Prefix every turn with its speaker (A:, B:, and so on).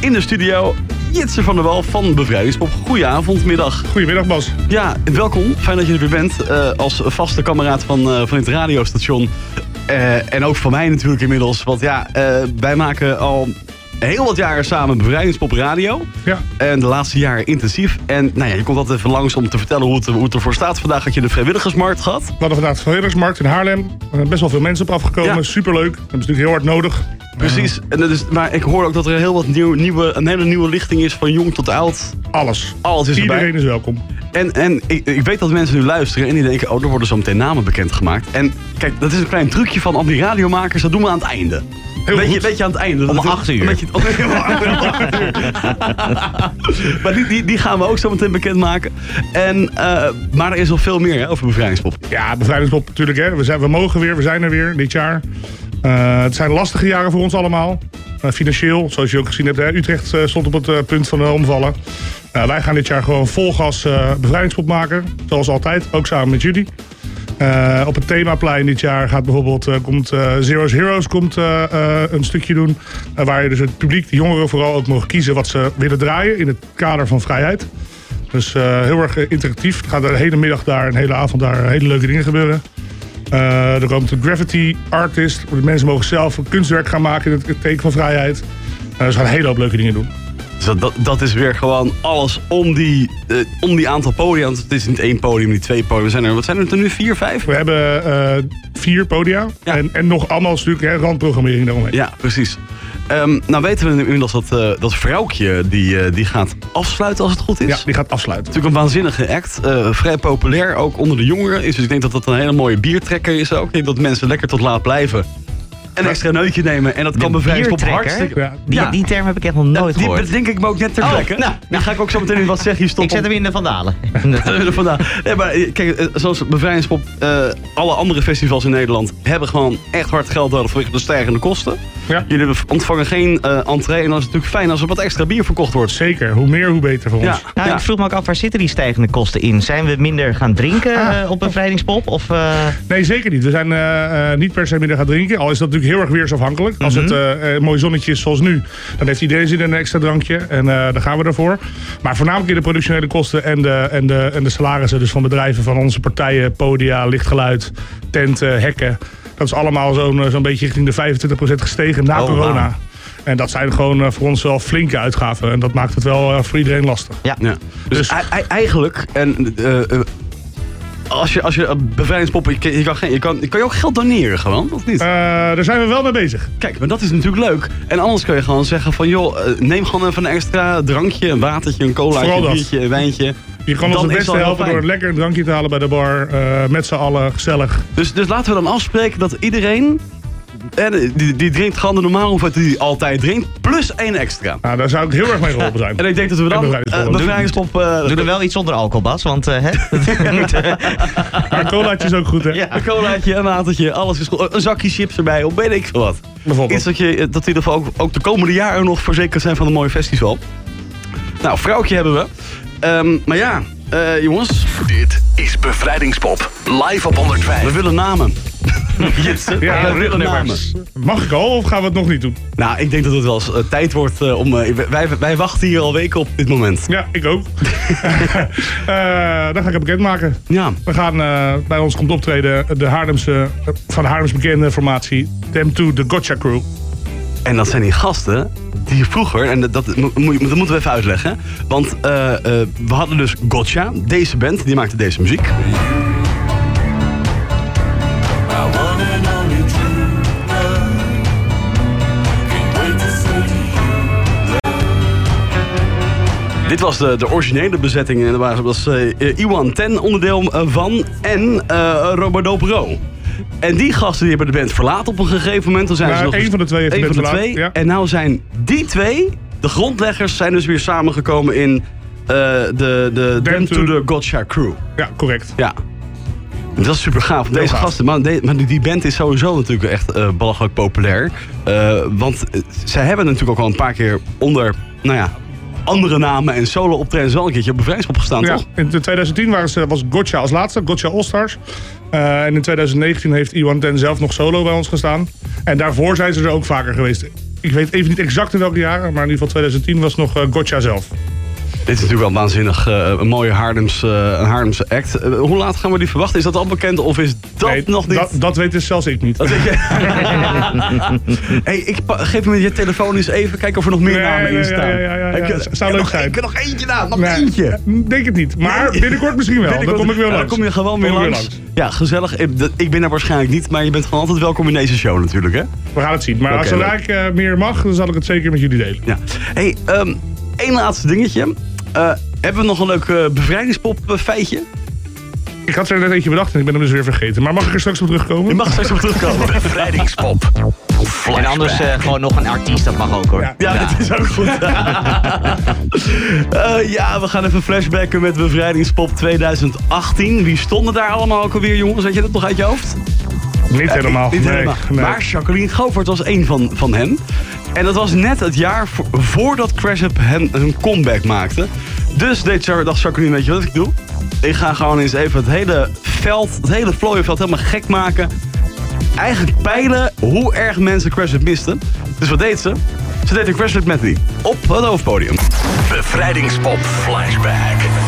A: in de studio Jitse van der Wal van Bevrijdingspop. Goedenavond, middag.
B: Goedemiddag Bas.
A: Ja, welkom. Fijn dat je er weer bent. eh, als vaste kameraad van, eh, van dit radiostation. Eh, en ook van mij natuurlijk inmiddels. Want ja, eh, wij maken al heel wat jaren samen Bevrijdingspop Radio.
B: Ja.
A: En de laatste jaren intensief. En nou ja, je komt altijd even langs om te vertellen hoe het, hoe het ervoor staat. Vandaag had je de vrijwilligersmarkt gehad.
B: We hadden vandaag de vrijwilligersmarkt in Haarlem. Er zijn best wel veel mensen op afgekomen.
A: Ja.
B: Superleuk. Dat is natuurlijk heel hard nodig.
A: Precies. En dat is, maar ik hoor ook dat er heel wat nieuw, nieuwe, een hele nieuwe lichting is van jong tot oud.
B: Alles.
A: Alles is
B: Iedereen
A: erbij.
B: is welkom.
A: En, en ik, ik weet dat mensen nu luisteren en die denken, oh, er worden zo meteen namen bekendgemaakt. En kijk, dat is een klein trucje van al die radiomakers, dat doen we aan het einde.
B: Heel
A: weet, je,
B: goed.
A: weet je aan het einde? Om
C: acht uur.
A: maar die, die, die gaan we ook zo meteen bekendmaken. En, eh, maar er is nog veel meer hè, over bevrijdingspop.
B: Ja, bevrijdingspop natuurlijk. Hè. We, zijn, we mogen weer. We zijn er weer dit jaar. Eh, het zijn lastige jaren voor ons allemaal. Eh, financieel, zoals je ook gezien hebt. Hè. Utrecht eh, stond op het eh, punt van eh, omvallen. Nou, wij gaan dit jaar gewoon vol gas eh, bevrijdingspop maken. Zoals altijd. Ook samen met jullie. Eh, op het themaplein dit jaar gaat bijvoorbeeld eh, komt, eh, Zero's Heroes komt, eh, eh, een stukje doen. eh, waar je dus het publiek, de jongeren vooral ook mogen kiezen wat ze willen draaien in het kader van vrijheid. Dus eh, heel erg eh, interactief. Er gaat de hele middag daar, een hele avond daar hele leuke dingen gebeuren. Eh, er komt een graffiti artist. De mensen mogen zelf een kunstwerk gaan maken in het, het teken van vrijheid. Eh, ze gaan een hele hoop leuke dingen doen.
A: Dus dat, dat, dat is weer gewoon alles om die, eh, om die aantal podia. Want het is niet één podium, niet twee podium. Zijn er, wat zijn er er nu? Vier, vijf?
B: We hebben eh, vier podia.
A: Ja.
B: En, en nog allemaal natuurlijk hè, randprogrammering daaromheen.
A: Ja, precies. Ehm, nou weten we inmiddels dat, eh dat vrouwtje die, eh, die gaat afsluiten als het goed is.
B: ja, die gaat afsluiten.
A: Natuurlijk een waanzinnige act. eh, vrij populair, ook onder de jongeren. Is, dus ik denk dat dat een hele mooie biertrekker is ook. Ik denk dat mensen lekker tot laat blijven. Een extra neutje nemen. En dat kan bevrijden op
C: biertrekker?
A: hartstikke...
B: Ja.
C: Die,
A: Ja.
C: die term heb ik echt nog nooit
A: Die
C: gehoord.
A: bedenk ik me ook net ter
C: Oh,
A: plekke.
C: nou,
A: Dan ga ik ook zo meteen in wat zeg je
C: Ik
A: stoppen.
C: zet hem in de vandalen. Nou,
A: Eh, vandaan. Nee, maar eh, kijk, eh, zoals Bevrijdingspop, eh, alle andere festivals in Nederland hebben gewoon echt hard geld nodig vanwege de stijgende kosten.
B: Ja.
A: Jullie ontvangen geen eh entree en dan is het natuurlijk fijn als er wat extra bier verkocht wordt.
B: Zeker, hoe meer hoe beter voor
A: Ja,
B: ons.
C: Nou,
A: ja.
C: ik vroeg me ook af, waar zitten die stijgende kosten in? Zijn we minder gaan drinken
B: Ah.
C: eh, op bevrijdingspop? Of, eh,
B: Nee, zeker niet. We zijn eh, eh, niet per se minder gaan drinken. Al is dat natuurlijk heel erg weersafhankelijk. Als
C: Mhm.
B: het eh, eh, mooi zonnetje is zoals nu, dan heeft iedereen zin in een extra drankje. En eh, daar gaan we ervoor. Maar voornamelijk in de productionele kosten en de, en, de, en de salarissen. Dus van bedrijven, van onze partijen, podia, lichtgeluid, tenten, hekken. Dat is allemaal zo'n eh, zo'n beetje richting de 25% gestegen na
C: Oh,
B: corona.
C: wauw.
B: En dat zijn gewoon eh, voor ons wel flinke uitgaven. En dat maakt het wel eh, voor iedereen lastig.
C: ja.
A: Ja. Dus,
B: Dus-
A: ei- ei- eigenlijk, en, eh, eh, als je, als je eh, Bevrijdingspop, je, kan- je, kan, geen- je, kan, kan je ook geld doneren gewoon, of niet?
B: Eh, daar zijn we wel mee bezig.
A: Kijk, maar dat is natuurlijk leuk. En anders kun je gewoon zeggen van joh, eh, neem gewoon even een extra drankje, een watertje, een colaatje,
B: Vooral
A: een
B: dat.
A: biertje, een wijntje.
B: Je kan
A: Dan
B: ons
A: is
B: het
A: al
B: beste
A: heel
B: helpen
A: fijn.
B: door lekker een drankje te halen bij de bar. eh, met z'n allen, gezellig.
A: Dus, dus laten we dan afspreken dat iedereen. En eh, die, die drinkt gewoon de normale hoeveelheid die hij altijd drinkt. Plus één extra.
B: Nou, daar zou ik heel erg mee geholpen zijn.
A: En ik denk dat we dan
B: En
A: eh,
B: bevrijdingspop.
A: bevrijdingspop... eh,
C: Doe er wel iets zonder alcohol, Bas, want eh, hè?
B: Maar colaatje is ook goed, hè?
C: Ja.
A: een colaatje, een watertje, alles is goed. Een zakje chips erbij, of weet ik veel wat. Iets
B: Bijvoorbeeld.
A: dat, je, eh, dat in ieder geval ook, ook de komende jaren nog verzekerd zijn van een mooi festival. Nou, vrouwtje hebben we. Ehm, maar ja, eh, jongens,
D: Dit is Bevrijdingspop. Live op 105.
A: we willen namen. Jitsen,
B: Ja,
A: we willen namen.
B: nummers. Mag ik al of gaan we het nog niet doen?
A: Nou, ik denk dat het wel eens eh, tijd wordt eh, om... eh, wij, wij wachten hier al weken op dit moment.
B: Ja, ik ook. Eh, dan ga ik het bekendmaken.
A: Ja.
B: We gaan, eh, bij ons komt optreden de Haarlemse, eh, van de Haarlems bekende formatie Them to the Gotcha Crew.
A: En dat zijn die gasten die vroeger, en dat, dat, mo- moet- dat moeten we even uitleggen. Want eh, eh, we hadden dus Gotcha, deze band, die maakte deze muziek.
E: My one and only true love. Can't wait to say to you.
A: Dit was de, de originele bezetting en daar waren- was eh, Iwan Ten onderdeel eh, van en eh Robodo Pro. En die gasten die hebben de band verlaten op een gegeven moment. Dan zijn
B: Ja,
A: ze nog
B: één
A: eens-
B: van de twee heeft de
A: één
B: band
A: van de
B: verlaten,
A: twee.
B: ja.
A: En nou zijn die twee, de grondleggers, zijn dus weer samengekomen in eh, de, de Them to
B: to-
A: the Gotcha Crew.
B: Ja, correct.
A: Ja. Dat is super gaaf. Deze
B: gaaf.
A: gasten, maar, de- maar die- die band is sowieso natuurlijk echt eh belachelijk populair. Eh, want eh, zij hebben natuurlijk ook al een paar keer onder, nou ja, andere namen en solo optredens wel een keertje op bevrijdingspop gestaan,
B: Ja,
A: toch?
B: in 2010 waren ze, was Gotcha als laatste, Gotcha All Stars. Eh, en in 2019 heeft Iwan Ten zelf nog solo bij ons gestaan. En daarvoor zijn ze er ook vaker geweest. ik weet even niet exact in welke jaren, maar in ieder geval 2010 was nog eh, Gotcha zelf.
A: Dit is natuurlijk wel waanzinnig. eh, een mooie Haarlems, eh, een Haarlemse act. Eh, hoe laat gaan we die verwachten? Is dat al bekend of is dat
B: Nee,
A: nog niet?
B: Dat, dat weet dus zelfs ik niet.
A: Dat weet je. hey, ik pa- geef me je telefoon eens even. Kijken of er nog meer
B: Nee,
A: namen
B: nee,
A: in
B: ja,
A: staan.
B: ja, ja, ja,
A: Ik-
B: ja.
A: ik-
B: Zou
A: ik-
B: leuk
A: nog,
B: zijn.
A: Ik heb nog eentje na. Nog
B: Nee,
A: eentje.
B: Denk het niet. Maar
A: Nee.
B: binnenkort misschien wel.
A: Binnenkort-
B: dan kom ik weer
A: Ja,
B: langs.
A: Dan kom je gewoon weer
B: Kom ik
A: langs. Ja, gezellig. Ik- dat- Ik ben er waarschijnlijk niet, maar je bent gewoon altijd welkom in deze show natuurlijk, hè?
B: We gaan het zien. Maar
A: Oké,
B: zodra
A: leuk.
B: ik eh, meer mag, dan zal ik het zeker met jullie delen.
A: Ja. hey, ehm, één laatste dingetje. Eh, hebben we nog een leuk eh, bevrijdingspop eh, feitje?
B: Ik had er net eentje bedacht en ik ben hem dus weer vergeten. Maar mag ik er straks op terugkomen?
A: Je mag straks op terugkomen.
D: Bevrijdingspop.
C: En anders eh, gewoon nog een artiest, dat mag ook hoor.
B: Ja.
A: Ja, dat is ook goed. Eh, ja, we gaan even flashbacken met Bevrijdingspop 2018. Wie stonden daar allemaal ook alweer, jongens? Weet je dat nog uit je hoofd?
B: Niet helemaal.
A: Niet
B: nee,
A: helemaal.
B: nee.
A: Maar Jacqueline Govert was één van, van hen. En dat was net het jaar vo- voordat Crash Up hen hun comeback maakte. Dus deed Jar- dacht Jacqueline, weet je wat ik doe? Ik ga gewoon eens even het hele veld, het hele vlooienveld helemaal gek maken. Eigenlijk peilen hoe erg mensen Crash Up misten. Dus wat deed ze? Ze deed een Crash Up Medley op het hoofdpodium.
D: Bevrijdingspop flashback.